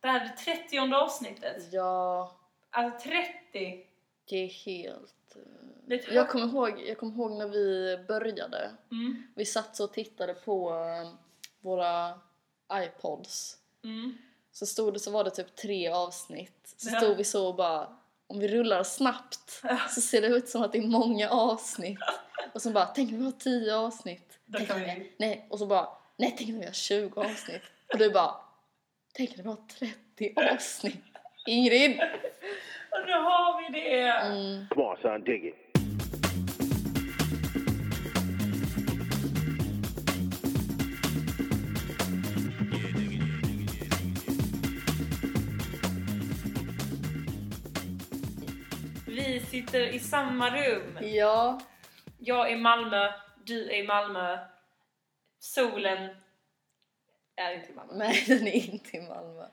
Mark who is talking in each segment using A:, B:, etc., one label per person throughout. A: Det här är det 30 avsnittet.
B: Ja,
A: Alltså 30.
B: det är helt... eh,
A: Det är ett
B: Jag
A: högt-
B: kommer ihåg, jag kommer ihåg när vi började.
A: Mm,
B: Vi satt och tittade på eh, våra iPods.
A: mm.
B: Så stod det, så var det typ tre avsnitt. Så
A: Ja.
B: stod vi så och bara, om vi rullar snabbt så ser det ut som att det är många avsnitt. Och så bara, tänk om vi har tio avsnitt.
A: Då
B: Tänk
A: kan
B: om
A: vi-
B: vi... Nej, och så bara, nej tänk om vi har 20 avsnitt. Och du bara, tänk om vi har 30 avsnitt. Ingrid!
A: Och nu har vi det!
B: Mm,
C: Come on, son, dig it.
A: Vi sitter i samma rum.
B: ja,
A: Jag är i Malmö, du är i Malmö. Solen är inte i Malmö.
B: nej den är inte i Malmö.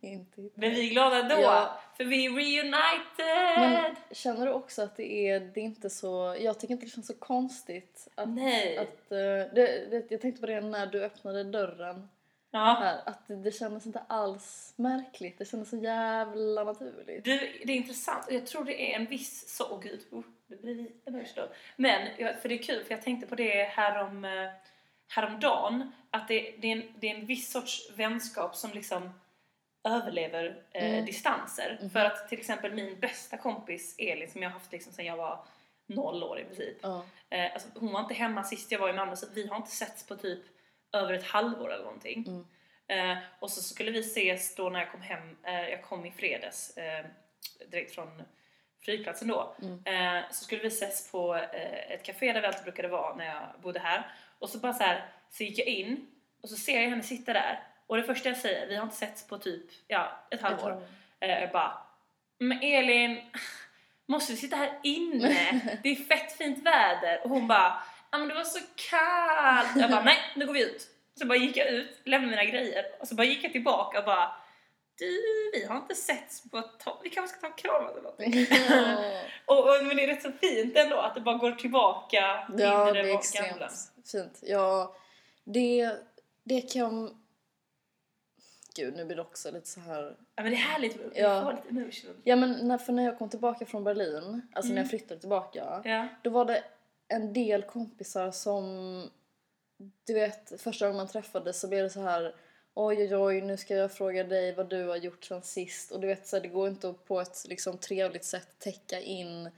B: Inte i...
A: Men vi är glada ändå,
B: Ja.
A: för vi är reunited!
B: Men känner du också att det är, det är inte så, jag tycker inte det känns så konstigt att
A: Nej.
B: Att, eh, det, det, jag tänkte på det när du öppnade dörren
A: ja.
B: här, att det, det kändes inte alls märkligt, det kändes så jävla naturligt.
A: Du, det är intressant och jag tror det är en viss så... Åh gud, oh, det blir en hörs då. Men, jag- för det är kul för jag tänkte på det härom, eh, häromdagen att det, det, är en, det är en viss sorts vänskap som liksom överlever eh,
B: Mm.
A: distanser.
B: Mhm.
A: För att till exempel min bästa kompis Elin som jag har haft liksom sedan jag var noll år i princip.
B: Ja.
A: Eh, alltså, hon var inte hemma sist jag var i Malmö så vi har inte setts på typ över ett halvår eller någonting.
B: Mm.
A: Eh, och så skulle vi ses då när jag kom hem, eh, jag kom i fredags eh, direkt från flygplatsen då.
B: Mm.
A: Eh, så skulle vi ses på eh, ett café där vi alltid brukade vara när jag bodde här. Och så bara så här, så gick jag in och så ser jag henne sitta där. Och det första jag säger, vi har inte setts på typ ja, ett halvår.
B: Jag tror-
A: Eh, jag bara, men Elin, måste vi sitta här inne? Det är fett fint väder. Och hon bara, ja men det var så kallt. Jag bara, nej nu går vi ut. Så bara gick jag ut, lämnade mina grejer och så bara gick jag tillbaka och bara, du vi har inte setts på ett tag, vi kanske ska ta en kram eller någonting.
B: Mm. Ja,
A: Och, och, men det är rätt så fint ändå att det bara går tillbaka
B: ja
A: in i
B: det
A: det,
B: är
A: var- gamla.
B: extremt fint. Ja, det, det kan... Gud, nu blir det också lite så här...
A: Ja men det är härligt, vi
B: Ja.
A: får lite emotional.
B: Ja men när, för när jag kom tillbaka från Berlin, alltså
A: Mm.
B: när jag flyttade tillbaka,
A: Ja.
B: då var det en del kompisar som du vet första gången man träffades så blev det så här oj oj oj nu ska jag fråga dig vad du har gjort sen sist och du vet så här, det går inte att på ett liksom trevligt sätt täcka in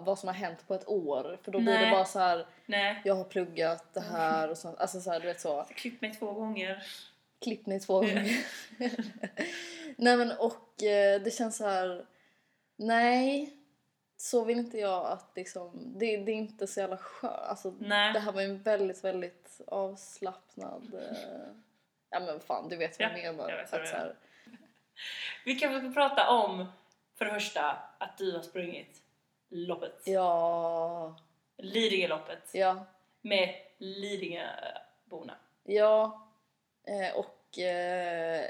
B: vad som har hänt på ett år för då blir det
A: Nej.
B: bara så här
A: Nej,
B: jag har pluggat det här och sånt alltså så här, du vet så
A: klipp mig två gånger.
B: klippt mig två gånger. nej men och eh, det känns så här. nej så vill inte jag att liksom, det, det är inte så jävla skönt. Alltså,
A: Nej.
B: det här var ju en väldigt, väldigt avslappnad, eh, ja men fan du vet vad jag
A: Ja,
B: menar.
A: jag vet vad
B: att,
A: du
B: så här,
A: Vi kanske ska prata om, för det första, att du har sprungit loppet.
B: ja,
A: Lidingöloppet.
B: ja,
A: Med Lidingöborna.
B: ja eh, och eh,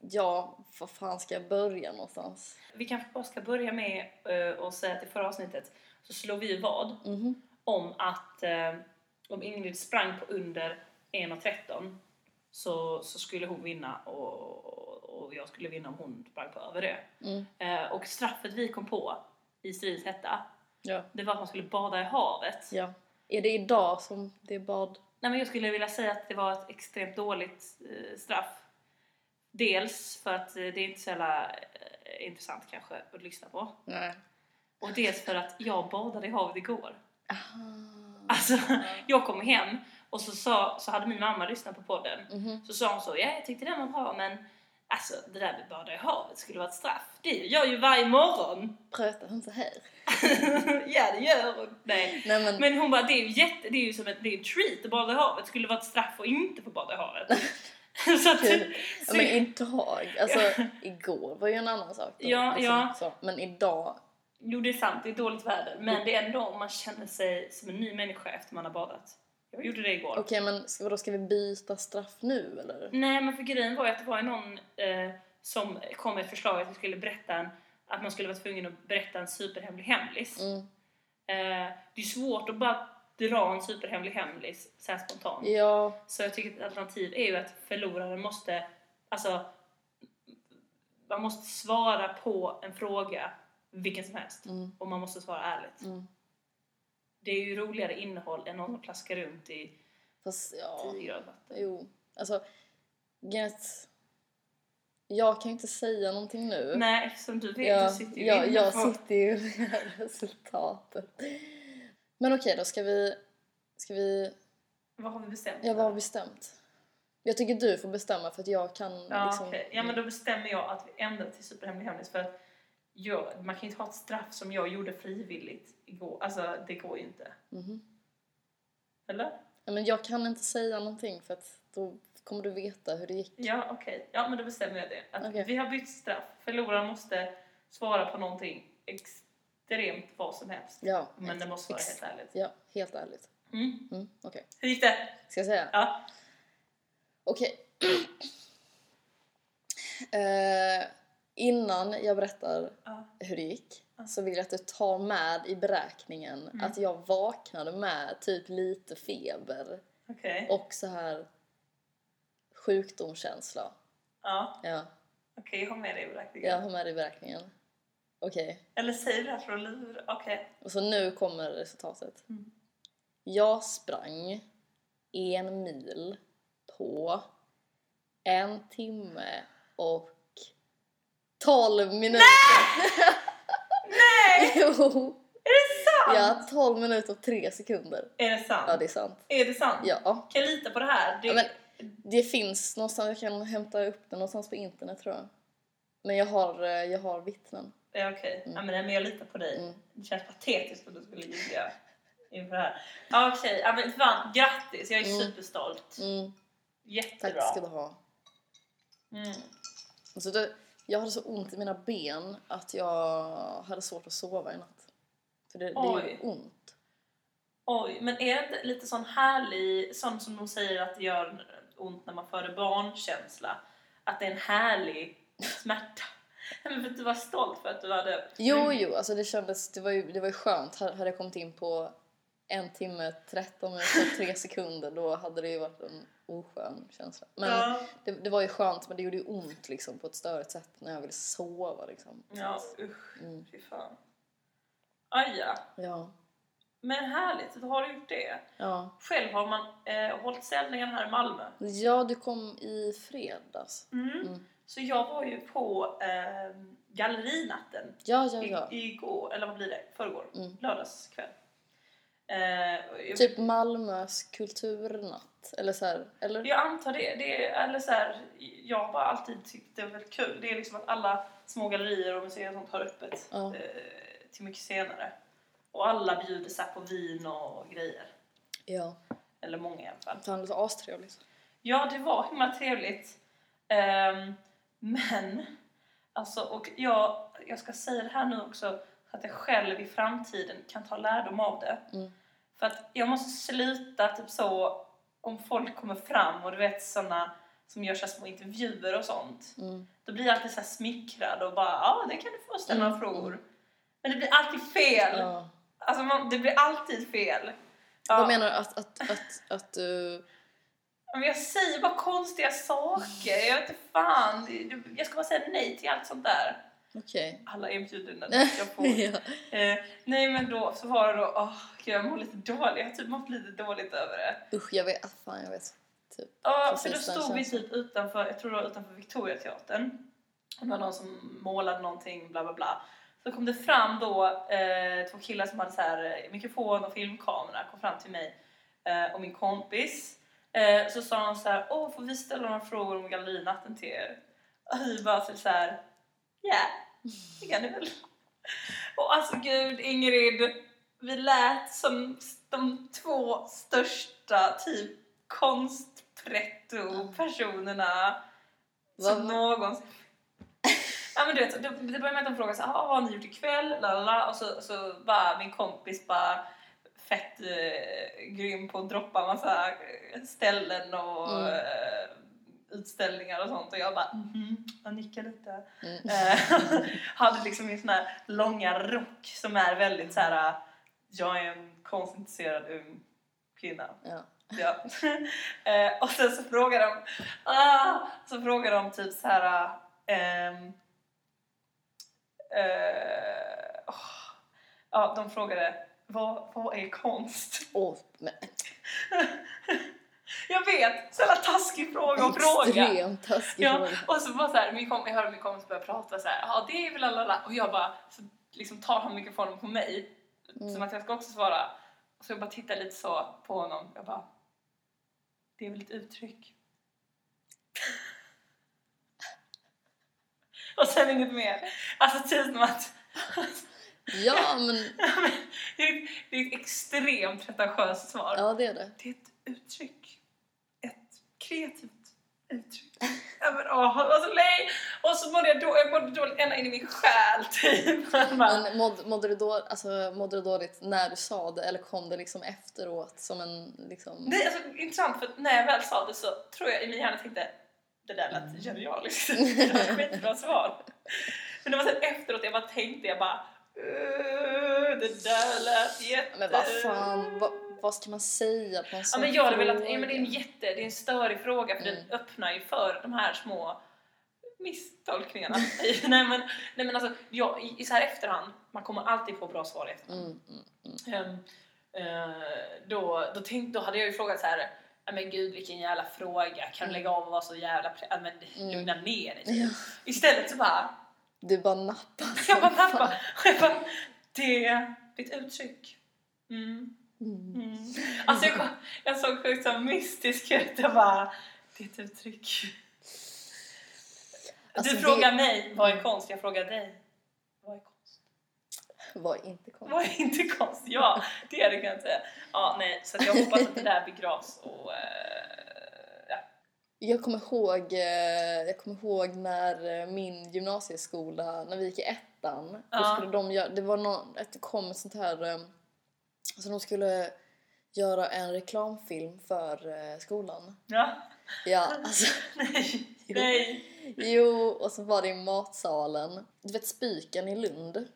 B: ja, var fan ska jag börja någonstans?
A: Vi kanske bara ska börja med eh, att säga att i förra avsnittet så slog vi ju vad
B: Mhm.
A: om att eh, om Ingrid sprang på under 1.13 så, så skulle hon vinna och, och, och jag skulle vinna om hon sprang på över det.
B: Mm.
A: Eh, och straffet vi kom på i stridens hetta,
B: Ja.
A: det var att man skulle bada i havet.
B: ja. Är det idag som det är bad?
A: Nej, men jag skulle vilja säga att det var ett extremt dåligt eh, straff. Dels för att eh, det är inte så jävla eh, intressant kanske att lyssna på.
B: Nej.
A: Och dels för att jag badade i havet igår.
B: Aha.
A: Alltså, jag kom hem och så, sa, så hade min mamma lyssnat på podden.
B: Mhm.
A: Så sa hon så, ja jag tyckte den var bra men alltså det där med bada i havet skulle vara ett straff. Det gör jag ju varje morgon.
B: Pratar hon så här?
A: ja det gör hon. Nej.
B: Nej men,
A: Men hon bara, det är ju, jätte, det är ju som ett, det är en treat att bada i havet. Skulle det vara ett straff att inte få bada i havet? så att,
B: Kul.
A: så,
B: men idag, alltså igår var ju en annan sak. då, alltså,
A: Ja, ja.
B: Så. Men idag,
A: Jo det är sant, det är dåligt väder. Men det är ändå om man känner sig som en ny människa efter man har badat. Jag gjorde det igår.
B: okej men ska, vadå, ska vi byta straff nu eller?
A: Nej men för grejen var ju att det var ju någon eh, som kom med ett förslag att vi skulle berätta en, att man skulle vara tvungen att berätta en superhemlig hemlis.
B: Mm.
A: Eh, det är svårt att bara dra en superhemlig hemlis så här spontant.
B: Ja,
A: Så jag tycker att ett alternativ är ju att förloraren måste alltså man måste svara på en fråga, vilken som helst,
B: Mm.
A: och man måste svara ärligt.
B: Mm.
A: Det är ju roligare innehåll än någon som plaskar runt i
B: Fast ja,
A: 10 grader vatten.
B: jo. Alltså, Gert, jag kan ju inte säga någonting nu.
A: Nej, som du vet,
B: jag,
A: du sitter ju
B: jag,
A: inne
B: jag
A: på-
B: sitter ju med resultatet. Men okej då, ska vi, ska vi...
A: Vad har vi bestämt?
B: Ja, vad har vi bestämt? Jag tycker du får bestämma för att jag kan
A: Ja,
B: liksom...
A: okej. ja men då bestämmer jag att vi ändrar till superhemlig hemlis för att jag, man kan ju inte ha ett straff som jag gjorde frivilligt igår. Alltså det går ju inte.
B: Mhm.
A: Eller?
B: Ja, men jag kan inte säga någonting för att då kommer du veta hur det gick.
A: Ja okej. Ja men då bestämmer jag det. Att
B: Okej.
A: Vi har bytt straff. Förloraren måste svara på någonting extremt vad som helst.
B: Ja,
A: Men det måste vara
B: ex-
A: helt ärligt.
B: Ja, helt ärligt.
A: Mm.
B: Mm, okej.
A: Hur gick det?
B: Ska jag säga?
A: Ja.
B: Okej. Eh, innan jag berättar
A: Ja.
B: hur det gick
A: Ja.
B: så vill jag att du tar med i beräkningen
A: Mm.
B: att jag vaknade med typ lite feber
A: Okej.
B: och så här sjukdomskänsla.
A: Ja.
B: Ja,
A: Okej jag har med dig i beräkningen.
B: jag har med det i beräkningen. Okej,
A: Eller säger du det här för att lura? Okej.
B: och så nu kommer resultatet.
A: Mm.
B: Jag sprang en mil på en timme och 12 minuter.
A: Nej!
B: Jo!
A: Är det sant?
B: Ja, 12 minuter och 3 sekunder.
A: Är det sant?
B: Ja, det är sant.
A: Är det sant?
B: Ja.
A: Kan jag lita på det här? Det...
B: ja men, det finns någonstans, jag kan hämta upp det någonstans på internet tror jag. Men jag har, eh, jag har vittnen.
A: Ja, okej. Ja, men, nej, men jag litar på dig.
B: Mm.
A: Det känns patetiskt om du skulle ljuga inför det här. Ja, okej. Ja, men fan, grattis! Jag är
B: Mm.
A: superstolt.
B: Mm, tack
A: Jättebra.
B: ska du ha.
A: Mm.
B: Alltså, det, jag hade så ont i mina ben att jag hade svårt att sova i natt. För det, det
A: Oj.
B: gör ont.
A: Oj, men är det inte lite sån härlig, sån som de säger att det gör ont när man föder barn känsla? Att det är en härlig smärta? Nej, men för att du var stolt för att du hade...
B: Jo, jo, alltså det kändes, det var ju, det var ju skönt. Hade hade jag kommit in på en timme, 13 minuter och 3 sekunder då hade det ju varit en oskön känsla. Men
A: Ja.
B: det, det var ju skönt men det gjorde ju ont liksom på ett större sätt när jag ville sova liksom.
A: Ja, usch.
B: Mm.
A: Fy fan. Aj, ja.
B: Ja,
A: Men härligt, då har du gjort det.
B: ja.
A: Själv har man eh, hållit sändningen här i Malmö.
B: Ja, du kom i fredags. Mm.
A: Så jag var ju på eh, gallerinatten
B: Ja, ja,
A: i,
B: ja.
A: igår, eller vad blir det? Förrgår?
B: Mm.
A: Lördagskväll. Eh, och jag,
B: Typ Malmös kulturnatt. Eller så här, eller?
A: jag antar det. det är, eller så här, jag har bara alltid tyckt det var väldigt kul. Det är liksom att alla små gallerier och museer och sånt har öppet
B: Ja.
A: eh, till mycket senare. Och alla bjuder sig på vin och grejer.
B: Ja.
A: Eller många i alla fall.
B: Fan, det låter
A: liksom.
B: astrevligt.
A: Ja, det var himla trevligt. Ehm, men, alltså, och jag, jag ska säga det här nu också, så att jag själv i framtiden kan ta lärdom av det.
B: Mm.
A: För att jag måste sluta typ så, om folk kommer fram och du vet sådana som gör så här små intervjuer och sånt.
B: Mm.
A: Då blir jag alltid så här smickrad och bara, ja, det kan du få ställa
B: Mm,
A: några frågor. Men det blir alltid fel.
B: Ja.
A: Alltså, man, det blir alltid fel. Ja.
B: Vad menar du? Att, att, att, att du...
A: Ja, Men jag säger bara konstiga saker. Jag vet inte fan. Det- Jag ska bara säga nej till allt sånt där.
B: Okej.
A: Alla erbjudanden jag får.
B: ja.
A: Eh, nej men då så var det då, åh gud jag mår lite dåligt. Jag har typ mått lite dåligt över det.
B: Usch, jag vet. ah, Fan, jag vet. Typ.
A: Ja, för då
B: Precis, den
A: stod vi
B: känslan.
A: typ utanför, jag tror det var utanför Victoriateatern. Och det var någon som målade någonting, bla bla bla. Så kom det fram då eh, två killar som hade så här, eh, mikrofon och filmkamera, kom fram till mig eh, och min kompis. Eh, så sa de så här, åh får vi ställa några frågor om gallerinatten till er? Och vi bara typ så, så här, ja det kan ni väl. Och alltså gud Ingrid, vi lät som de två största typ konstpretto-personerna som
B: Vad-
A: någonsin... ja men du vet, det det började med att de frågade så här, "Ah, vad har ni gjort ikväll? Lalala. Och så, så bara min kompis bara fett eh, grym på att droppa massa eh, ställen och
B: Mm.
A: eh, utställningar och sånt och jag bara mhm, jag nickar lite.
B: Mm.
A: Eh, hade liksom min sån här långa rock som är väldigt så här. eh, jag är en konstintresserad ung kvinna.
B: Ja.
A: Ja. Eh, och sen så frågar de, ah, så frågar de typ så här. ehm, eh, åh. ja, de frågade vad, vad är konst?
B: Åh, men
A: Jag vet, så jävla taskig fråga att fråga.
B: extremt taskig
A: Ja,
B: fråga.
A: och så bara så här, min kom, jag hörde min kompis börja prata så här, ja det är väl lalala. och jag bara, så liksom tar han mikrofonen på mig, som
B: Mm.
A: att jag ska också svara. Och så jag bara tittar lite så på honom, jag bara, det är väl ett uttryck. och sen inget mer. Alltså typ som att,
B: Ja, men
A: det är ett- det är ett extremt pretentiöst svar.
B: ja, det är det.
A: Det är ett uttryck. Ett kreativt uttryck. Ja, men, åh, alltså, nej. Och så mådde jag, då, jag mådde dåligt ända in i min själ typ. Man bara,
B: Men mådde, mådde, du då, alltså, mådde du dåligt när du sa det eller kom det liksom efteråt som en liksom...
A: Nej, alltså, intressant för att när jag väl sa det så tror jag i min hjärna tänkte det där
B: Mm.
A: lät genialiskt. Det var ett skitbra svar. Men det var sen efteråt jag bara tänkte jag bara "Eh, det där lät jätte...
B: Men vad fan, vad, vad ska man säga på en
A: Ja,
B: sån
A: men jag hade velat,
B: fråga?
A: ja, men det är en jätte, det är en störig fråga för
B: Mm.
A: den öppnar ju för de här små misstolkningarna. nej, men, nej men alltså, jag, i, i så här efterhand, man kommer alltid få bra svar i efterhand.
B: Mm, mm.
A: Ehm, eh, då, då, tänk, då hade jag ju frågat så här. "Ja, Men gud vilken jävla fråga, kan du
B: Mm.
A: lägga av och vara så jävla pre- ja, men,
B: Mm.
A: lugna ner dig?
B: Ja.
A: Istället så bara,
B: Du bara nappar.
A: jag bara
B: som fan.
A: tappar. Och jag bara, det är ditt uttryck. Mm.
B: Mm.
A: Mm. Alltså jag, kom- jag såg sjukt så mystisk ut. Jag bara, det är ett uttryck.
B: Alltså, Mm.
A: du frågar mig, vad är konst? Jag frågar dig, vad är konst?
B: Det var inte konstigt.
A: Vad är inte konst? Ja, det är det kan jag säga. Ja, nej, så att jag hoppas att det där begravs och... eh, ja.
B: Jag kommer ihåg, eh, jag kommer ihåg när eh, min gymnasieskola, när vi gick i ettan,
A: Ja.
B: då skulle de göra, det var någon, det kom ett sånt här, eh, alltså de skulle göra en reklamfilm för eh, skolan.
A: ja.
B: Ja, alltså,
A: Nej,
B: Jo.
A: nej.
B: jo, och så var det i matsalen. Du vet Spiken i Lund?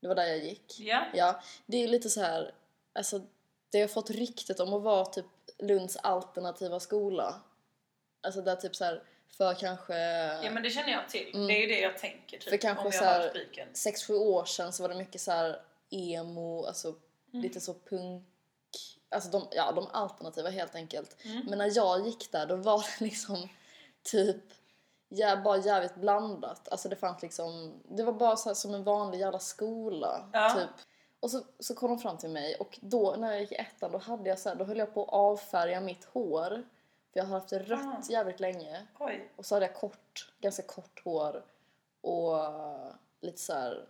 B: Det var där jag gick.
A: Ja.
B: Ja, det är lite så här, alltså det har fått ryktet om att vara typ Lunds alternativa skola. Alltså där typ så här för kanske
A: ja, men det känner jag till.
B: Mm.
A: Det är ju det jag tänker typ,
B: För kanske
A: om jag
B: så här-
A: har spiken.
B: 6-7 år sedan så var det mycket så här emo, alltså
A: Mm.
B: lite så punk. Alltså de, ja, de alternativa helt enkelt.
A: Mm.
B: Men när jag gick där då var det liksom typ ja, bara jävligt blandat. Alltså det fanns liksom, det var bara så här som en vanlig jävla skola.
A: Ja.
B: Typ. Och så, så kom de fram till mig och då när jag gick i ettan då hade jag så här, då höll jag på att avfärga mitt hår. För jag har haft rött
A: Ah.
B: jävligt länge.
A: Oj.
B: Och så hade jag kort, ganska kort hår och lite så här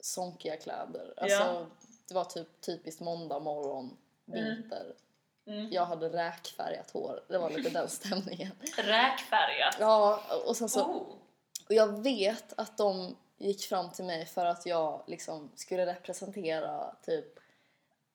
B: sonkiga kläder. Alltså,
A: Ja.
B: Det var typ typiskt måndag morgon, vinter.
A: Mm.
B: Jag hade räkfärgat hår. Det var lite den stämningen.
A: Räkfärgat.
B: Ja, och sen så...
A: Oh.
B: Och jag vet att de gick fram till mig för att jag liksom skulle representera typ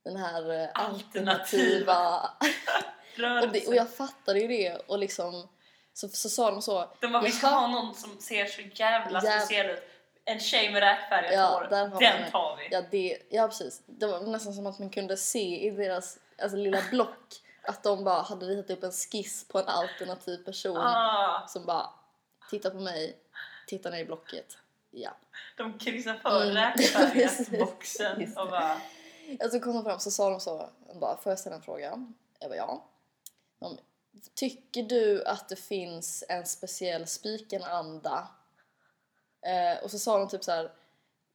B: den här eh,
A: Alternativa.
B: alternativa... och, det,
A: Rörelse.
B: och jag fattade ju det och liksom... Så, så sa de så,
A: De bara, vi ska
B: Jaha.
A: ha någon som ser så jävla
B: Jäv-
A: speciell ut. En tjej med räkfärgat
B: Ja,
A: hår.
B: där har man
A: Den
B: det.
A: tar vi.
B: Ja, det, ja precis. Det var nästan som att man kunde se i deras alltså, lilla block att de bara hade ritat upp en skiss på en alternativ person
A: Ah,
B: som bara titta på mig, titta ner i blocket. Ja.
A: de kryssar för
B: Mm.
A: räkfärgat-boxen
B: Precis.
A: och bara...
B: Alltså kom de fram så sa de så, de bara, får jag ställa en fråga? Jag bara ja. De, Tycker du att det finns en speciell spikenanda? Eh, och så sa de typ så här.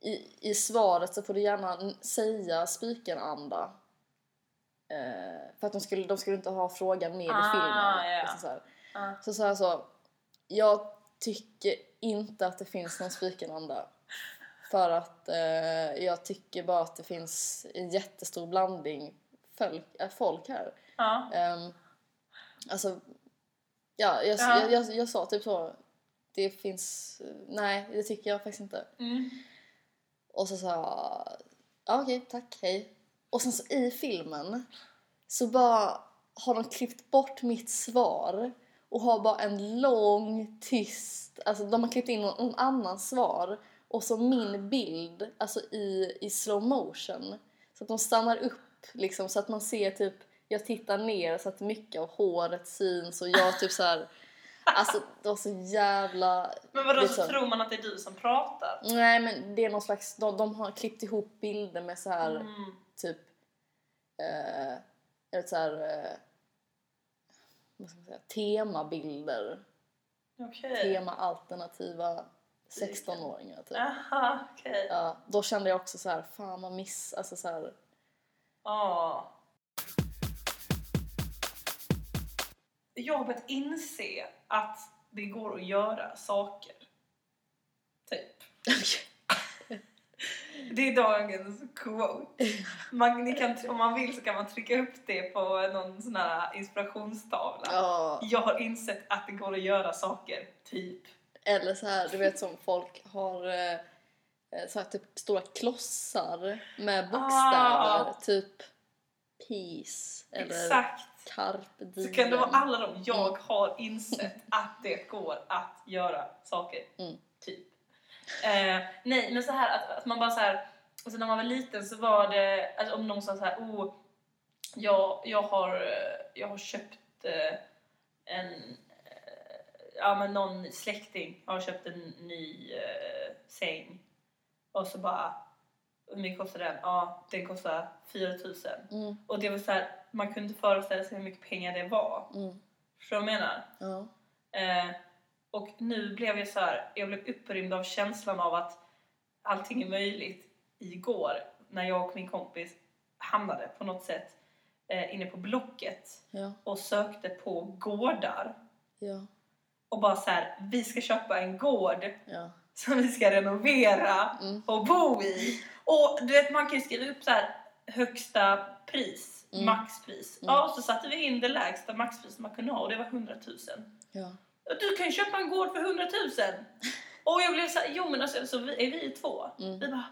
B: I, I svaret så får du gärna n- säga spikenanda. Eh, för att de skulle, de skulle inte ha frågan med i
A: Ah,
B: filmen.
A: ja.
B: Och så, så, här.
A: Ah.
B: så sa jag så. Jag tycker inte att det finns någon spikenanda. För att eh, jag tycker bara att det finns en jättestor blandning folk, äh, folk här.
A: Ja.
B: Ehm, alltså, ja, jag,
A: Ja.
B: Jag, jag, jag sa typ så. Det finns, eh, nej det tycker jag faktiskt inte.
A: Mm.
B: Och så sa jag, ja okej tack, hej. Och sen så i filmen så bara har de klippt bort mitt svar och har bara en lång tyst, alltså de har klippt in någon, någon annans svar och så min bild, alltså i, i slow motion. Så att de stannar upp liksom så att man ser typ, jag tittar ner så att mycket av håret syns och jag typ så här. Alltså det var så jävla...
A: Men vadå så
B: Liksom.
A: tror man att det är du som pratar?
B: Nej men det är någon slags, de, de har klippt ihop bilder med så här
A: Mm.
B: typ... Eh, jag vet så här, eh, vad ska man säga, temabilder.
A: Okej.
B: Tema alternativa 16-åringar typ.
A: Aha, okej.
B: Ja, då kände jag också så här, fan vad miss, alltså så här,
A: Ja. Jag har börjat inse att det går att göra saker. Typ. Det är dagens quote. Man, ni kan, om man vill så kan man trycka upp det på någon sån här inspirationstavla.
B: ja.
A: Jag har insett att det går att göra saker, typ.
B: Eller så här, du vet som folk har eh, eh, så här, typ stora klossar med bokstäver,
A: Ah.
B: typ peace eller
A: Exakt.
B: carpe diem.
A: Så kan det vara alla de jag har insett att det går att göra saker.
B: Mm.
A: Typ. Eh, nej, men så här att, att man bara så här. Alltså när man var liten så var det alltså om någon sa så här, oh, jag, jag, har, eh, jag har köpt eh, en, eh, ja men någon släkting har köpt en ny eh, säng och så bara, hur mycket kostar den? Ja, den kostar 4000.
B: Mm,
A: Och det var så här, man kunde inte föreställa sig hur mycket pengar det var.
B: mm,
A: Förstår du vad jag menar?
B: ja.
A: Eh, och nu blev jag så här, jag blev upprymd av känslan av att allting är möjligt igår när jag och min kompis hamnade på något sätt eh, inne på Blocket
B: Ja,
A: och sökte på gårdar
B: ja,
A: och bara så här, vi ska köpa en gård
B: ja.
A: som vi ska renovera
B: Mm.
A: och bo i. Och du vet, man kan ju skriva upp så här högsta pris,
B: Mm.
A: maxpris.
B: Mm.
A: Ja, och så satte vi in det lägsta maxpris man kunde ha och det var 100 000.
B: ja.
A: Och Du kan ju köpa en gård för 100 000! Och jag blev så här, jo men alltså så vi, är vi två.
B: Mm.
A: Vi bara,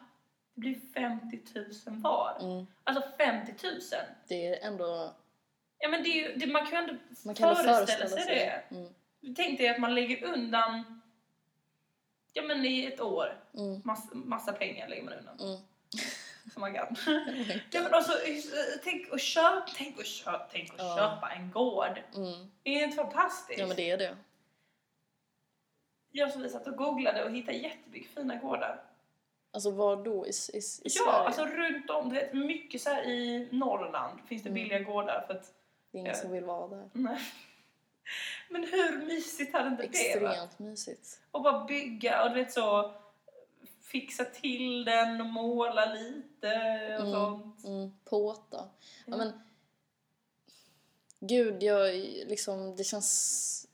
A: det blir 50 000 var.
B: Mm.
A: Alltså 50 000!
B: Det är ändå...
A: Ja men det är ju, det, man kan ju ändå
B: Man kan ändå
A: föreställa,
B: föreställa
A: sig,
B: sig det. Mm,
A: det. Tänk dig att man lägger undan, ja men i ett år,
B: mm,
A: massa, massa pengar lägger man undan.
B: mm.
A: Oh my god. Ja, men alltså, eh, tänk och köp, tänk och köp, tänk och
B: Ja.
A: köpa en gård.
B: Mm.
A: Det är inte fantastiskt?
B: Ja men det är det.
A: Jag som vi satt och googlade och hittade jättemycket fina gårdar.
B: Alltså var då? I, i, i
A: ja,
B: Sverige?
A: alltså runt om. Du vet, mycket så här i Norrland finns det
B: Mm.
A: billiga gårdar för att...
B: det är ingen som vill vara där.
A: Nej. Men hur mysigt hade inte det varit?
B: Extremt mysigt.
A: Och bara bygga och du vet så fixa till den och måla lite och
B: Mm.
A: sånt.
B: Mm, påta. Ja,
A: Mm.
B: men, gud, jag liksom, det känns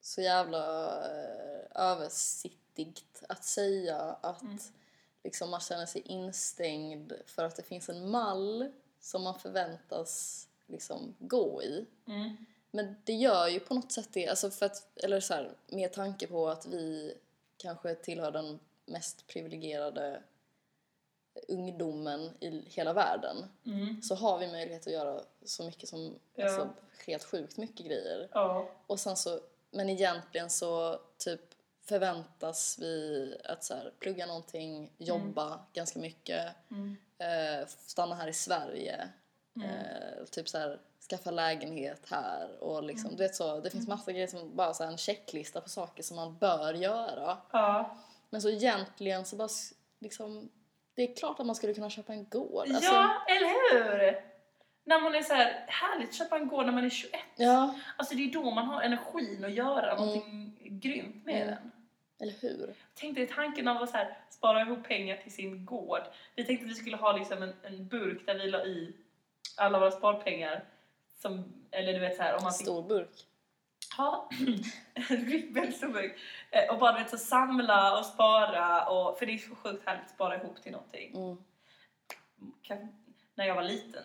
B: så jävla eh, översittigt att säga att
A: Mm.
B: liksom, man känner sig instängd för att det finns en mall som man förväntas liksom, gå i.
A: Mm.
B: Men det gör ju på något sätt det, alltså för att, eller så här, med tanke på att vi kanske tillhör den mest privilegierade ungdomen i hela världen
A: Mm.
B: så har vi möjlighet att göra så mycket som,
A: Ja.
B: alltså helt sjukt mycket grejer.
A: Ja.
B: Och sen så, men egentligen så typ förväntas vi att så här, plugga någonting, jobba ganska mycket,
A: Mm.
B: eh, stanna här i Sverige,
A: Mm.
B: eh, typ så här, skaffa lägenhet här och liksom,
A: Mm.
B: du vet så, det finns massa grejer som bara så här, en checklista på saker som man bör göra.
A: Ja.
B: Men så egentligen så bara s- liksom, det är klart att man skulle kunna köpa en gård. alltså.
A: ja, eller hur? När man är så här, härligt att köpa en gård när man är 21.
B: ja,
A: Alltså det är då man har energin att göra
B: Mm.
A: någonting grymt med
B: Mm.
A: den.
B: eller hur?
A: Tänk dig tanken av att så här, spara ihop pengar till sin gård. Vi tänkte att vi skulle ha liksom en, en burk där vi la i alla våra sparpengar. Som, eller du vet så här, om man fick
B: Stor burk.
A: Ja, väldigt stor burk. Eh, Och bara du vet, så samla och spara. Och, för det är så sjukt härligt att spara ihop till någonting.
B: Mm.
A: kan, när jag var liten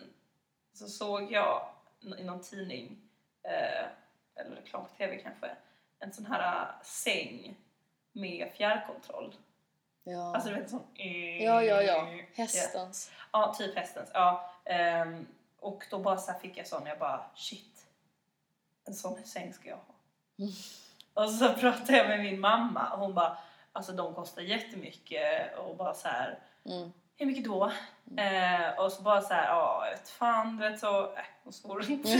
A: så såg jag n- i någon tidning, eh, eller reklam på TV kanske, en sån här eh, säng med fjärrkontroll.
B: Ja.
A: Alltså du vet en sån... eh,
B: ja, ja, ja. Hästens.
A: Ja, typ hästens. Ja. Ehm, och då bara så här fick jag sån och jag bara shit, en sån säng ska jag ha.
B: Mm.
A: Och så pratade jag med min mamma och hon bara alltså de kostar jättemycket och bara så här
B: Mm.
A: hur mycket då?
B: Mm.
A: Eh, och så bara så här, ja, jag vet fan, du vet så, äh, hon svor inte.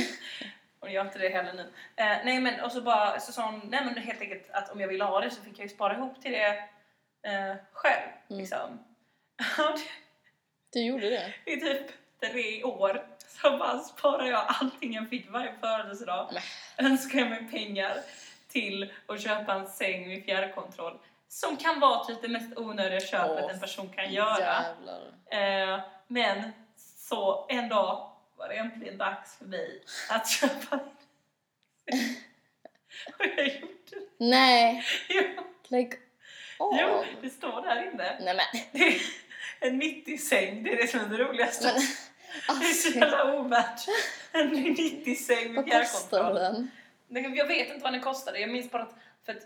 A: Och jag gör inte det heller nu. Eh, nej men och så bara så sa hon, nej men helt enkelt att om jag ville ha det så fick jag ju spara ihop till det eh, själv.
B: Mm.
A: Liksom.
B: Du gjorde det?
A: I typ tre år så bara sparade jag allting jag fick varje födelsedag. Önskade jag mig pengar till att köpa en säng med fjärrkontroll. Som kan vara typ det mest onödiga köpet
B: Åh,
A: en person kan göra.
B: Jävlar.
A: Eh, men så en dag var det äntligen dags för mig att köpa Och jag gjorde det.
B: Nej,
A: Jo,
B: lägg av.
A: jo, det står där inne.
B: Nej men,
A: Det är en 90-säng, det är det som är det roligaste.
B: men
A: Det är så
B: alltså,
A: jävla ovärt. En 90-säng med
B: vad kostar
A: fjärrkontroll.
B: den?
A: Nej, Jag vet inte vad den kostade. Jag minns bara att, för att eh,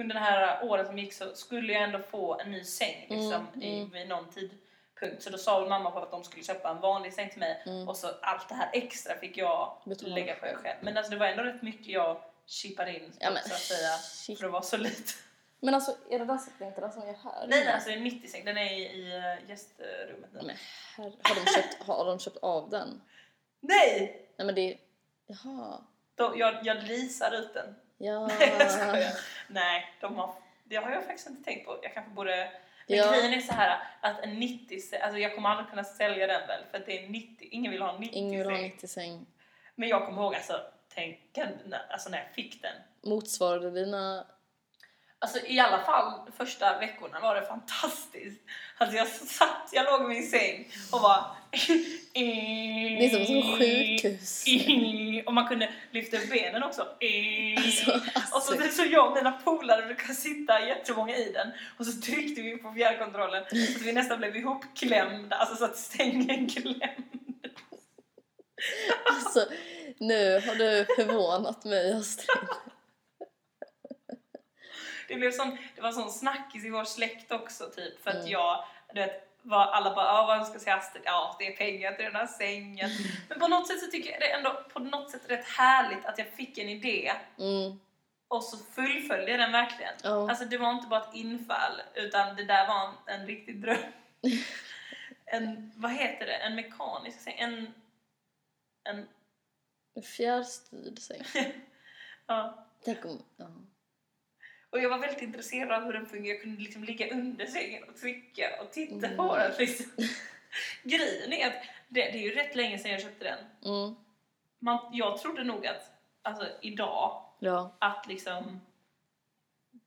A: under den här åren som gick så skulle jag ändå få en ny säng liksom,
B: Mm,
A: i,
B: mm.
A: vid någon tidpunkt. Så då sa väl mamma och pappa att de skulle köpa en vanlig säng till mig
B: Mm.
A: och så allt det här extra fick jag
B: Betala.
A: lägga på mig själv. Men alltså, det var ändå rätt mycket jag chippade in
B: Ja, men,
A: så att säga.
B: shit.
A: För det var så lite.
B: Men alltså, är det där sitter inte den som är
A: Nej,
B: här?
A: nej, alltså det är en 90-säng. Den är i, i eh, gästrummet nu.
B: Men herre- har, de köpt, har de köpt av den?
A: Nej!
B: Nej men det... Jaha.
A: De, jag, jag leasar ut den.
B: Ja.
A: Nej, jag skojar. Nej, de har, det har jag faktiskt inte tänkt på. Jag kanske borde... Men
B: Ja.
A: grejen är så här att en 90 alltså jag kommer aldrig kunna sälja den väl för att det är 90, ingen vill ha en 90
B: Ingen vill ha
A: säng.
B: 90 säng.
A: Men jag kommer ihåg alltså, tänk, när- alltså när jag fick den.
B: Motsvarade dina...
A: Alltså i alla fall första veckorna var det fantastiskt. Alltså jag satt, jag låg i min säng och bara...
B: Det är som ett sjukhus.
A: Och man kunde lyfta upp benen också.
B: Alltså,
A: Och så,
B: alltså.
A: så jag och mina polare brukade sitta jättemånga i den och så tryckte vi på fjärrkontrollen så att vi nästan blev ihopklämda, alltså så att stängen klämde.
B: Alltså, nu har du förvånat mig Astrid.
A: Det, blev sån, det var sån snackis i vår släkt också typ för att
B: Mm.
A: jag, du vet, var, alla bara ah, vad ska säga Astrid? Ja, det är pengar till den här sängen.
B: Mm.
A: Men på något sätt så tycker jag det är ändå på något sätt rätt härligt att jag fick en idé
B: Mm.
A: och så fullföljde jag den verkligen.
B: Ja.
A: Alltså det var inte bara ett infall utan det där var en, en riktig dröm. En, vad heter det? En mekanisk säng? En... En...
B: Fjärrstyrd säng.
A: Ja.
B: Tänk om... Ja.
A: Och jag var väldigt intresserad av hur den fungerade. Jag kunde liksom ligga under sängen och trycka och titta på
B: Mm.
A: den liksom. Grejen är att det, det är ju rätt länge sedan jag köpte den.
B: Mm.
A: Man, jag trodde nog att, alltså idag,
B: Ja.
A: att liksom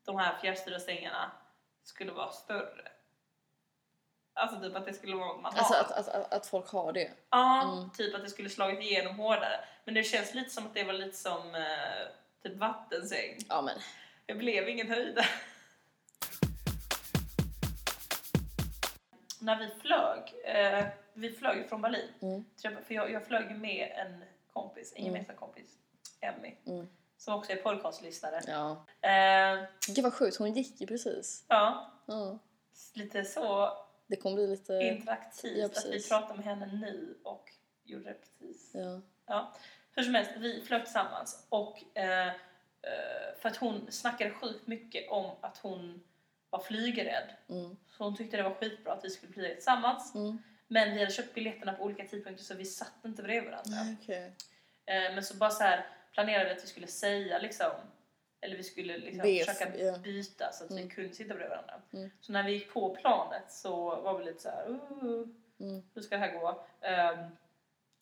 A: de här fjärrstyrda sängarna skulle vara större. Alltså typ att det skulle vara något man har.
B: Alltså att, att, att, att folk har det.
A: Ja,
B: Mm.
A: typ att det skulle slagit igenom hårdare. Men det känns lite som att det var lite som eh, typ vattensäng.
B: Ja men.
A: Det blev ingen höjd. När vi flög, eh, vi flög ju från Berlin.
B: Mm.
A: Träffa- För jag, jag flög ju med en kompis, en
B: Mm.
A: gemensam kompis, Emmy,
B: Mm.
A: som också är podcastlyssnare.
B: Ja.
A: Eh,
B: Gud vad sjukt, hon gick ju precis.
A: ja,
B: Ja.
A: lite så
B: Det kommer bli lite...
A: interaktivt
B: Eh, ja,
A: att vi
B: precis.
A: pratar med henne nu och gjorde det precis.
B: Ja.
A: Ja, hur som helst, vi flög tillsammans och eh, eh, för att hon snackade sjukt mycket om att hon var flygrädd.
B: Mm.
A: Så hon tyckte det var skitbra att vi skulle flyga tillsammans.
B: Mm.
A: Men vi hade köpt biljetterna på olika tidpunkter så vi satt inte bredvid varandra.
B: Nej, Okej.
A: Eh, men så bara så här planerade vi att vi skulle säga liksom eller vi skulle liksom
B: Be-
A: försöka
B: ja.
A: byta så att vi
B: Mm.
A: kunde sitta bredvid varandra.
B: Mm.
A: Så när vi gick på planet så var vi lite så här, "Uh,
B: Mm.
A: hur ska det här gå? Ehm,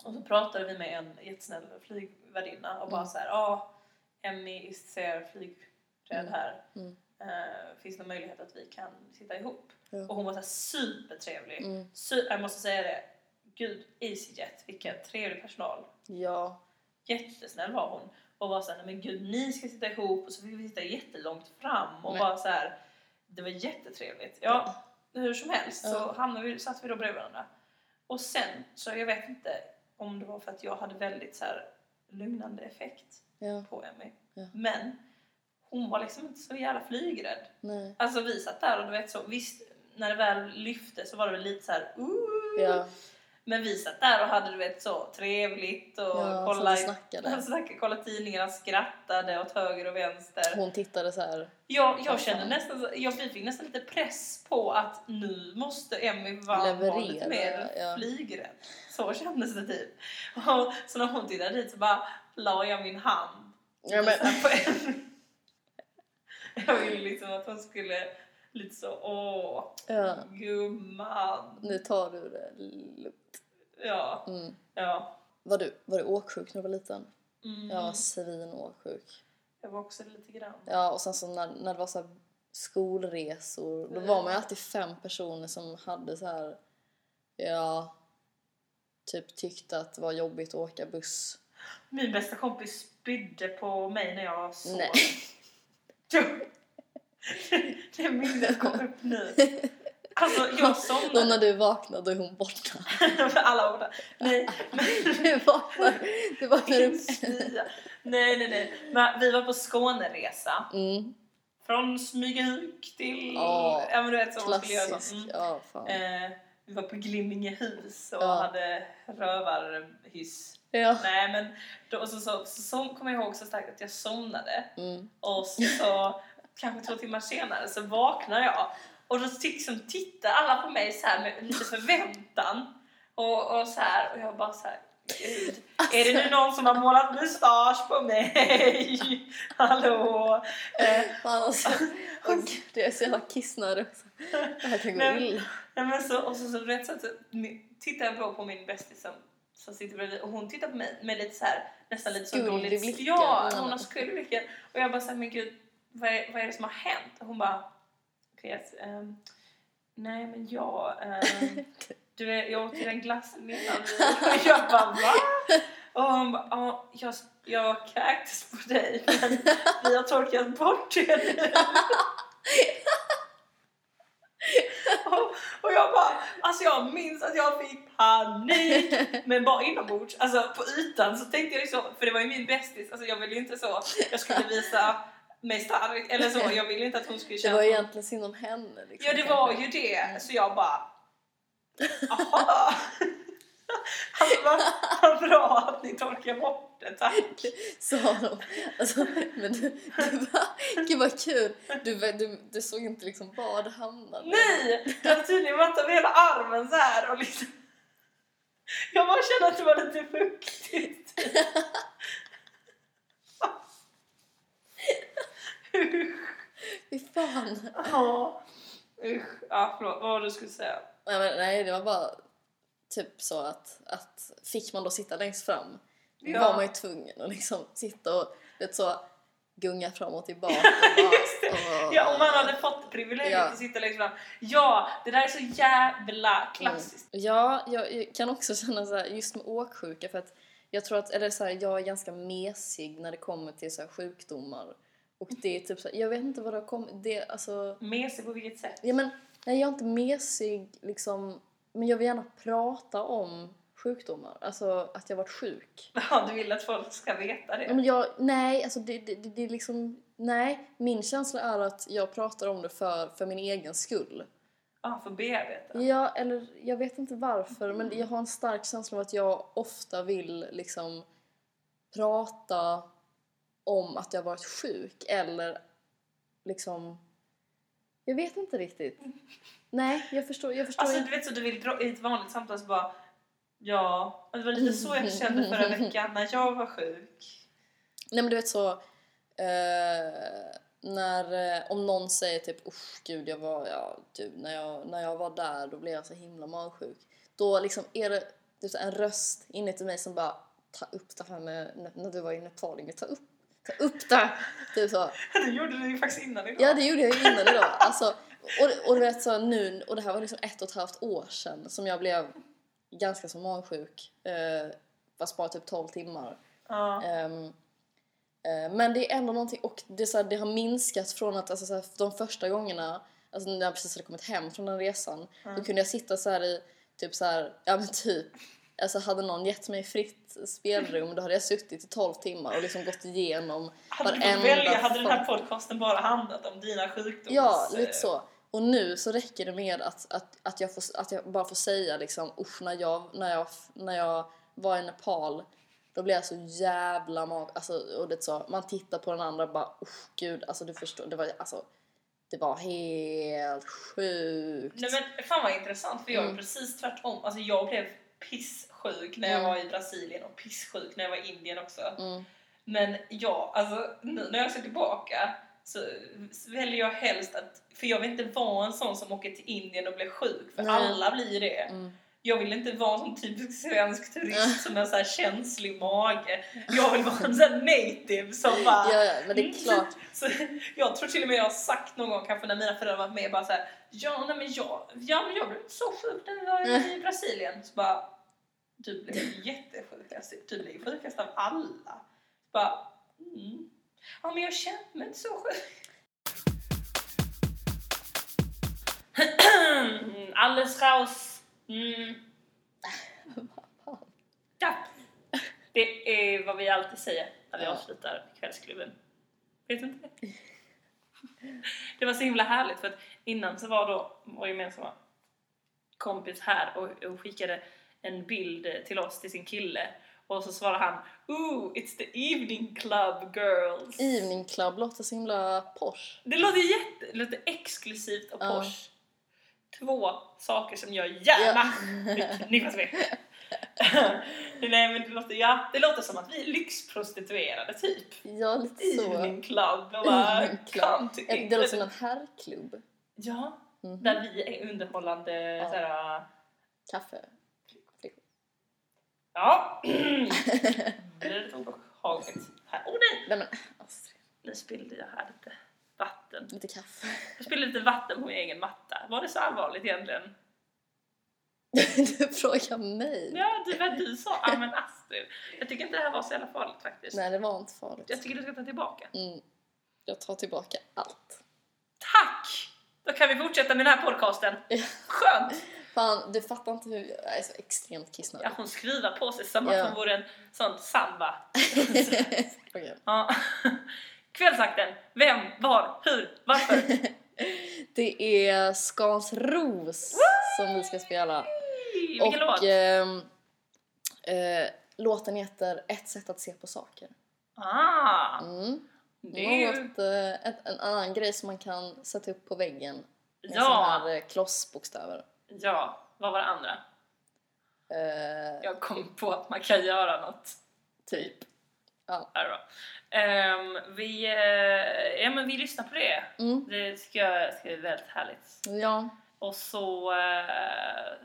A: och så pratade vi med en jättesnäll flygvärdinna och bara
B: Mm.
A: så här, ja, Emmy ser flygrädd
B: Mm.
A: här.
B: Mm.
A: Eh, finns det någon möjlighet att vi kan sitta ihop?
B: Ja.
A: Och hon var så här supertrevlig.
B: Mm.
A: Su- jag måste säga det, gud EasyJet, vilken trevlig personal.
B: Ja.
A: Jättesnäll var hon. Och var så här, "Nej, men gud ni ska sitta ihop och så fick vi sitta jättelångt fram och
B: Nej.
A: bara så här, det var jättetrevligt. Ja, hur som helst så
B: Ja.
A: hamnade vi, satt vi då bredvid varandra. Och sen, så jag vet inte om det var för att jag hade väldigt så här lugnande effekt
B: Ja.
A: på Emmy.
B: Ja.
A: Men hon var liksom inte så jävla flygrädd.
B: Nej.
A: Alltså vi satt där och du vet så, visst när det väl lyfte så var det väl lite så här "Ooh."
B: Ja.
A: Men vi satt där och hade du vet så trevligt och
B: Ja,
A: kollade,
B: som vi snackade.
A: alltså, snackade, kollade tidningarna, skrattade åt höger och vänster.
B: Hon tittade så här.
A: Jag, jag
B: Vad
A: kände
B: fan.
A: nästan, så- jag, vi fick nästan lite press på att nu måste Emmy vara vara lite
B: Leverera,
A: mer
B: ja.
A: flygrädd. Så kändes det typ. Och, så när hon tittade dit så bara la jag min hand
B: Ja, men,
A: på henne. Jag ville liksom att hon skulle lite så, åh,
B: ja,
A: gumman.
B: nu tar du det lugnt.
A: Ja,
B: Mm.
A: ja.
B: Var, du, var du åksjuk när du var liten?
A: Mm.
B: Jag var svinåksjuk.
A: Jag var också lite grann.
B: Ja, och sen så när, när det var så här skolresor, då var man ju alltid fem personer som hade så här, ja, typ tyckte att det var jobbigt att åka buss.
A: Min bästa kompis spydde på mig när jag sov.
B: Nej.
A: Jo. Det minnet kom upp nu. Alltså jag
B: Då
A: somnade.
B: när du vaknade då är hon borta.
A: Alla var där. Nej,
B: Du vaknade, du vaknade
A: men,
B: upp.
A: nej, nej, nej. Men vi var på Skåneresa.
B: Mm,
A: Från Smygehuk till...
B: Ja,
A: ja men du vet så man skulle göra
B: klassisk.
A: så. Mm.
B: Ja, fan.
A: Eh, vi var på Glimmingehus och
B: Ja.
A: hade rövarhyss.
B: Ja.
A: Nej men då, och så, så, så, så kommer jag ihåg så starkt att jag somnade.
B: Mm.
A: Och så, så kanske två timmar senare så vaknar jag och då liksom tittar alla på mig så här med lite förväntan. Och, och så här och jag bara så här. Gud, är det nu någon som har målat mustasch på mig? Hallå? Eh,
B: Fan alltså. Åh gud, det är så jävla kissnödig också. Det här kan gå
A: Men-
B: illa.
A: nej men så, och så, så, rätt, så, så min- tittar jag då på min bästis som, som sitter bredvid och hon tittar på mig med lite så här nästan lite så
B: Skuld i
A: dåligt
B: blicken.
A: Ja,
B: Mm.
A: hon har skuld i blicken. Och jag bara såhär, men gud vad är, vad är det som har hänt? Och hon bara, okej alltså, ehm, nej men jag, ehm, du är, jag åt ju en glass innan vi- och jag bara va? Och hon bara, ja jag, jag kräktes på dig men vi har torkat bort det nu. Och, och jag bara, alltså jag minns att jag fick panik. Men bara inombords, alltså på ytan så tänkte jag ju så, för det var ju min bästis, alltså jag ville ju inte så, jag skulle visa mig stark eller så, jag ville inte att hon skulle
B: Det
A: känna
B: var
A: att hon-
B: egentligen synd om henne. Liksom,
A: Ja det var
B: kanske.
A: ju det, så jag bara... Aha. Alltså, vad, vad bra att ni torkar bort det, tack!
B: Sa de. Alltså, men du, du bara, gud vad kul. Du, du, du såg inte liksom var det hamnade.
A: Nej! Det hade tydligen varit över hela armen så här och liksom... Jag bara kände att det var lite fuktigt. Usch!
B: Fy fan.
A: Ja. Usch, ja förlåt, vad var det du skulle säga?
B: Nej, men, nej, det var bara typ så att, att fick man då sitta längst fram
A: Ja.
B: var man ju tvungen att liksom sitta och vet, så gunga fram och tillbaka. och bara- och-
A: Ja, om man hade fått privilegiet
B: Ja.
A: att sitta längst fram. Ja, det där är så jävla klassiskt.
B: Ja, jag, jag kan också känna så här, just med åksjuka för att jag tror att, eller så här, jag är ganska mesig när det kommer till så här sjukdomar. Och det är typ så här, jag vet inte vad det har kommit, det alltså,
A: Med sig på vilket sätt?
B: ja men, nej jag är inte mesig liksom, men jag vill gärna prata om sjukdomar, alltså att jag varit sjuk.
A: Ja, du vill att folk ska veta
B: Ja,
A: det.
B: Men jag, nej, alltså det, det, det, det är liksom, nej, min känsla är att jag pratar om det för, för min egen skull.
A: Ja, för bearbeta.
B: Ja, eller jag vet inte varför men jag har en stark känsla av att jag ofta vill liksom prata om att jag varit sjuk eller liksom... Jag vet inte riktigt. Nej, jag förstår, jag förstår
A: Alltså,
B: inte.
A: du vet så du vill dra i ett vanligt samtal så bara Ja, och det var lite så jag kände förra veckan när jag var sjuk.
B: Nej men du vet så... Eh, när, eh, om någon säger typ usch gud jag var, ja, typ, när, jag, när jag var där då blev jag så himla magsjuk. Då liksom är det typ så här en röst inuti mig som bara ta upp det här med när- när du var i Nepal, Ingrid, ta upp, ta upp det här. Typ så.
A: Du gjorde det ju faktiskt innan idag.
B: Ja det gjorde jag ju innan idag. Alltså, och, och du vet så nu, och det här var liksom ett och ett halvt år sedan som jag blev ganska så magsjuk. Eh, fast bara typ 12 timmar.
A: Ja.
B: Ehm, eh, men det är ändå någonting och det, är så här, det har minskat från att alltså, så här, de första gångerna, alltså när jag precis hade kommit hem från den resan, då kunde jag sitta så här i typ så här, ja men typ Alltså hade någon gett mig fritt spelrum då hade jag suttit i 12 timmar och liksom gått igenom
A: Hade du fått välja hade den här podcasten bara handlat om dina sjukdoms...
B: Ja,
A: eh,
B: lite så. Och nu så räcker det med att, att, att, jag, får, att jag bara får säga liksom usch när jag, när jag, när jag var i Nepal då blev jag så jävla mag... Alltså, och det är så, man tittar på den andra och bara usch gud, alltså du förstår, det var, alltså, det var helt sjukt.
A: Nej men fan vad intressant för jag är
B: Mm.
A: precis tvärtom. Alltså jag blev pissjuk när jag
B: Mm.
A: var i Brasilien och pissjuk när jag var i Indien också.
B: Mm.
A: Men ja, alltså nu när jag ser tillbaka så väljer jag helst att, för jag vill inte vara en sån som åker till Indien och blir sjuk, för
B: Nej.
A: alla blir det.
B: Mm.
A: Jag vill inte vara en sån typisk svensk turist som har så här känslig mage. Jag vill vara en sån här native som bara... Mm.
B: Ja, ja, men det är klart.
A: Så, jag tror till och med jag har sagt någon gång kanske när mina föräldrar var med bara så här, ja, nej, men jag, ja men jag blev så sjuk när vi var i Brasilien. Så bara, du blev jättesjuk. alltså. Du blev sjukast av alla. Så bara, mm. Ja men jag kände mig inte så sjuk. Alles raus. Mm. Ja. Det är vad vi alltid säger när vi
B: Ja.
A: avslutar kvällsklubben. Vet du inte det? Det var så himla härligt för att innan så var då vår gemensamma kompis här och, och skickade en bild till oss, till sin kille och så svarade han Ooh, it's the evening club girls!
B: Evening Club låter så himla posh.
A: Det låter jätte, det låter exklusivt och
B: Ja.
A: posh. Två saker som jag gärna förknippas med. Nej men det låter, ja, det låter som att vi är lyxprostituerade typ.
B: Ja, lite så.
A: Evening club och bara
B: Evening club.
A: come to
B: Det låter som en herrklubb.
A: Ja,
B: Mhm.
A: där vi är underhållande
B: Ja.
A: såhär,
B: Kaffe.
A: ja. det är lite obehagligt. Här. Åh nej,
B: Nej men, Astrid.
A: nu spillde jag här lite vatten.
B: Lite kaffe.
A: Jag spillde lite vatten på min egen matta. Var det så allvarligt egentligen?
B: Du frågar mig.
A: Ja, det var du sa. Ja, men Astrid. Jag tycker inte det här var så jävla farligt faktiskt.
B: Nej, det var inte farligt.
A: Jag tycker du ska ta tillbaka.
B: Mm. Jag tar tillbaka allt.
A: Tack! Då kan vi fortsätta med den här podcasten.
B: Ja.
A: Skönt!
B: Fan, du fattar inte hur... Jag är så extremt kissnödig.
A: Ja, hon skruvar på sig som att
B: Ja.
A: hon vore en sån samba.
B: Okej.
A: Ja. Kvällsakten. Vem, var, hur, varför?
B: Det är Skans Ros som vi ska spela.
A: Vilken låt?
B: ehm, eh, låten heter Ett sätt att se på saker.
A: Ah,
B: Mm.
A: det är ju...
B: Något, eh, ett, en annan grej som man kan sätta upp på väggen med såna
A: Ja,
B: här eh, klossbokstäver.
A: ja. Vad var det andra?
B: Eh,
A: Jag kom på att man kan göra något.
B: Typ.
A: Ja, det är bra. Ehm, vi, eh, ja, men vi lyssnar på det.
B: Mm.
A: Det ska, jag- ska bli väldigt härligt.
B: Ja,
A: Och så... eh,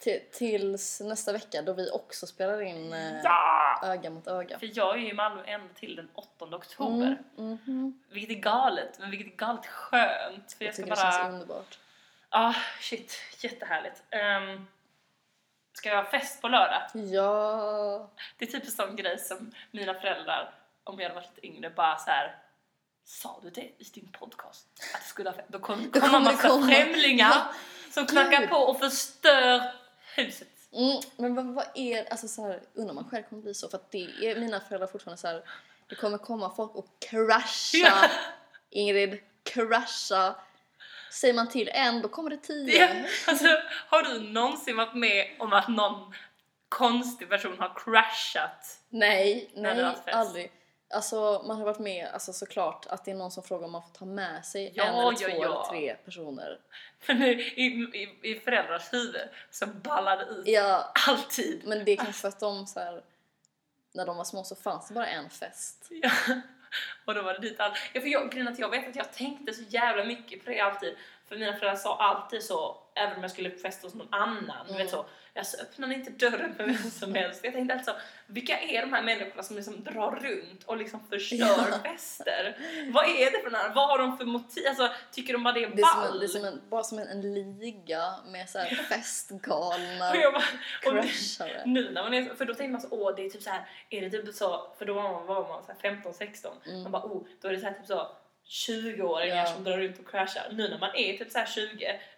B: till- tills nästa vecka då vi också spelar in eh,
A: ja!
B: öga mot öga.
A: För jag är ju i Malmö ända till den 8 oktober.
B: Mm, mhm.
A: Vilket är galet, men vilket är galet skönt. För jag,
B: Jag
A: ska
B: tycker det
A: bara...
B: känns underbart.
A: Ah, shit. Jättehärligt. Um, ska jag ha fest på lördag?
B: Ja,
A: Det är typ en sån grej som mina föräldrar, om jag hade varit lite yngre, bara så här. Sa du det i din podcast? Att du skulle ha fest? Då kommer kom
B: Då kommer
A: en
B: det
A: massa
B: komma.
A: främlingar
B: Ja.
A: som knackar
B: Gud.
A: på och förstör huset.
B: Mm, men vad, vad är alltså så här, undrar man själv kommer bli så för att det är mina föräldrar fortfarande så här. Det kommer komma folk och crasha
A: Ja.
B: Ingrid, crasha. Säger man till en då kommer det tio.
A: Ja, alltså, har du någonsin varit med om att någon konstig person har crashat?
B: Nej,
A: Nej, det var
B: nej,
A: fest.
B: aldrig. Alltså man har varit med alltså såklart att det är någon som frågar om man får ta med sig
A: Ja,
B: en eller
A: ja,
B: två
A: ja.
B: eller tre personer.
A: För nu, i, i, i föräldrars huvud så ballar det ut
B: Ja,
A: alltid.
B: men det är kanske för att de så här, när de var små så fanns det bara en fest.
A: Ja. Och då var det dit allt. Ja, för jag, grejen är att jag vet att jag tänkte så jävla mycket på det alltid. För mina föräldrar sa alltid så, även om jag skulle festa hos någon annan. Du
B: Mm.
A: vet så, jag så öppnar inte dörren för vem som helst. Jag tänkte alltså, vilka är de här människorna som liksom drar runt och liksom förstör
B: Ja.
A: fester? Vad är det för några? Vad har de för motiv? Alltså, tycker de bara det är
B: Det är, som en,
A: ball?
B: det är som en, bara som en, en liga med så här festgalna
A: och jag bara, och,
B: crashare.
A: Nu när man är, för då tänker man så, åh det är typ så här, är det typ så, för då var man, var man så här 15, 16,
B: Mm.
A: man bara oh, då är det så här typ så 20-åringar
B: Ja.
A: som drar ut och kraschar. Nu när man är typ så här 20,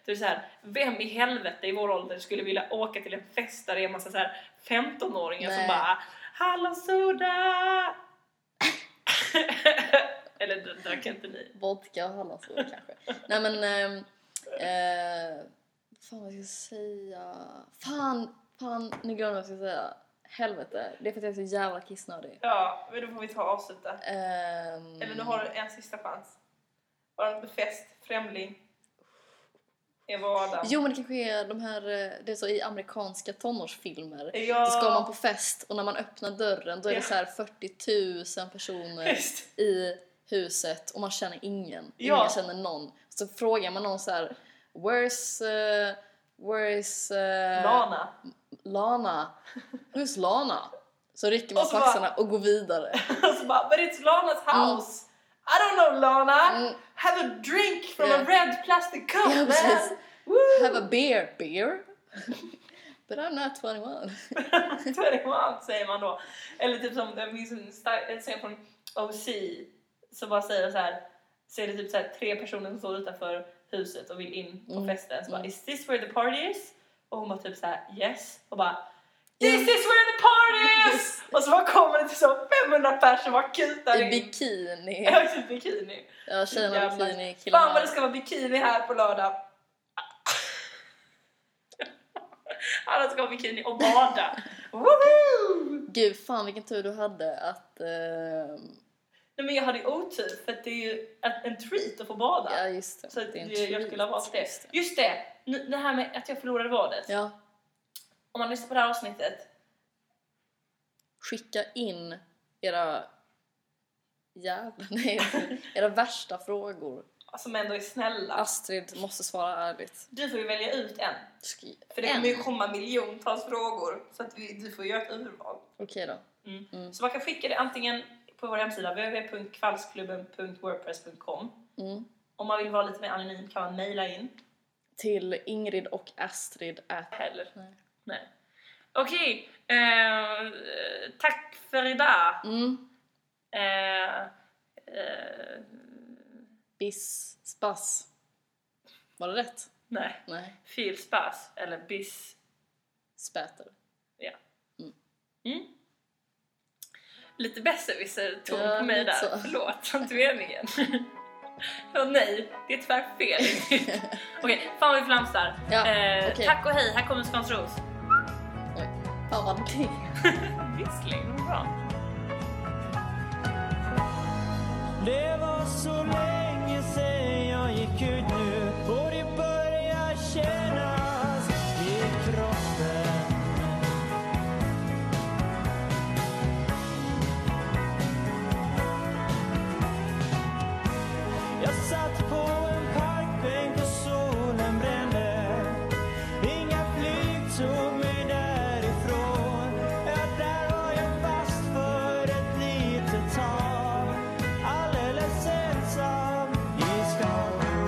A: då är det så här, vem i helvete i vår ålder skulle vilja åka till en fest där det är en massa så här 15-åringar som
B: Nej.
A: bara hallonsoda! Eller det drack inte ni?
B: Vodka och hallonsoda kanske. Nej men... ehm, Eh, vad fan vad ska jag säga? Fan, fan, nu glömde jag vad jag ska säga. Helvete, det är för att jag är så jävla kissnödig.
A: Ja, men då får vi ta och avsluta.
B: Ehm,
A: Eller nu har du en sista chans. Var det befäst, främling? är vardagen.
B: Jo men det kanske är de här, eh, det är så i amerikanska tonårsfilmer.
A: ja,
B: Då ska man på fest och när man öppnar dörren då är det
A: Ja.
B: så här 40 000 personer
A: Just.
B: i huset och man känner ingen.
A: Ja.
B: Ingen känner någon. Så frågar man någon så här Where's, eh, where's eh,
A: Lana.
B: Lana? Who's Lana? Så rycker man
A: Och
B: på
A: så bara-
B: axlarna och går vidare.
A: Alltså bara, but it's Lanas house. I don't know Lana.
B: Mm.
A: Have a drink from
B: Ja.
A: a red plastic cup
B: Ja, precis.
A: man. Woo!
B: Have a beer, beer? But I'm not 21.
A: 21 säger man då. Eller typ som, jag minns en stark- en scen från OC som bara säger så här. Så är det typ så här tre personer som står utanför huset och vill in på
B: Mm,
A: festen. Så bara,
B: mm.
A: is this where the party is? Och hon bara typ så här, yes. Och bara, this
B: Ja.
A: is where the party is! Och så bara kommer det typ så 500 personer som bara kutar
B: I
A: in.
B: bikini.
A: Ja, typ bikini.
B: Ja, tjejerna har
A: Jävlar.
B: bikini,
A: Fan
B: killarna...
A: vad det ska vara bikini här på lördag. Alla ska ha bikini och bada. Woho!
B: Gud, fan vilken tur du hade att... ehm,
A: Nej men jag hade ju otur för att det är ju ett- en treat att få bada.
B: ja, just det.
A: så att
B: Det är en
A: det, jag
B: treat.
A: skulle ha valt det.
B: Just det.
A: Just det! Nu, det här med att jag förlorade vadet.
B: Ja,
A: Om man lyssnar på det här avsnittet.
B: skicka in era... Jävlar, nej. Era värsta frågor.
A: Som alltså, ändå är snälla.
B: Astrid måste svara ärligt.
A: Du får ju välja ut en.
B: Skri-
A: För det
B: En.
A: kommer ju komma miljontals frågor. Så att vi, du får göra ett urval.
B: Okej då.
A: Mm.
B: Mm.
A: Så man kan skicka det antingen på vår hemsida www.kvallsklubben.wordpress.com
B: Mm.
A: Om man vill vara lite mer anonym kan man mejla in.
B: Till Ingrid och Astrid at...
A: Heller.
B: Nej.
A: Nej. Okej, eh, tack för idag.
B: Mm.
A: Eh, eh,
B: Bis... Spass. Var det rätt?
A: nej,
B: Nej.
A: filspass eller bis.
B: Später.
A: Mm. Lite besserwisser-ton
B: Ja,
A: på mig
B: lite
A: där.
B: så.
A: Förlåt, det var inte meningen. Åh nej, det är tyvärr fel. Okej, fan vad vi flamsar.
B: Ja,
A: eh,
B: okej.
A: Tack och hej, här kommer Skåns ros.
B: Fan vad det...
A: Vissling, vad bra.
C: Det var så länge sen jag gick ut nu och det börjar kännas i kroppen Jag satt på en parkbänk och solen brände Inga flyg tog mig därifrån Ja, där var jag fast för ett litet tag Alldeles ensam i skam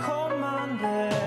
C: kommande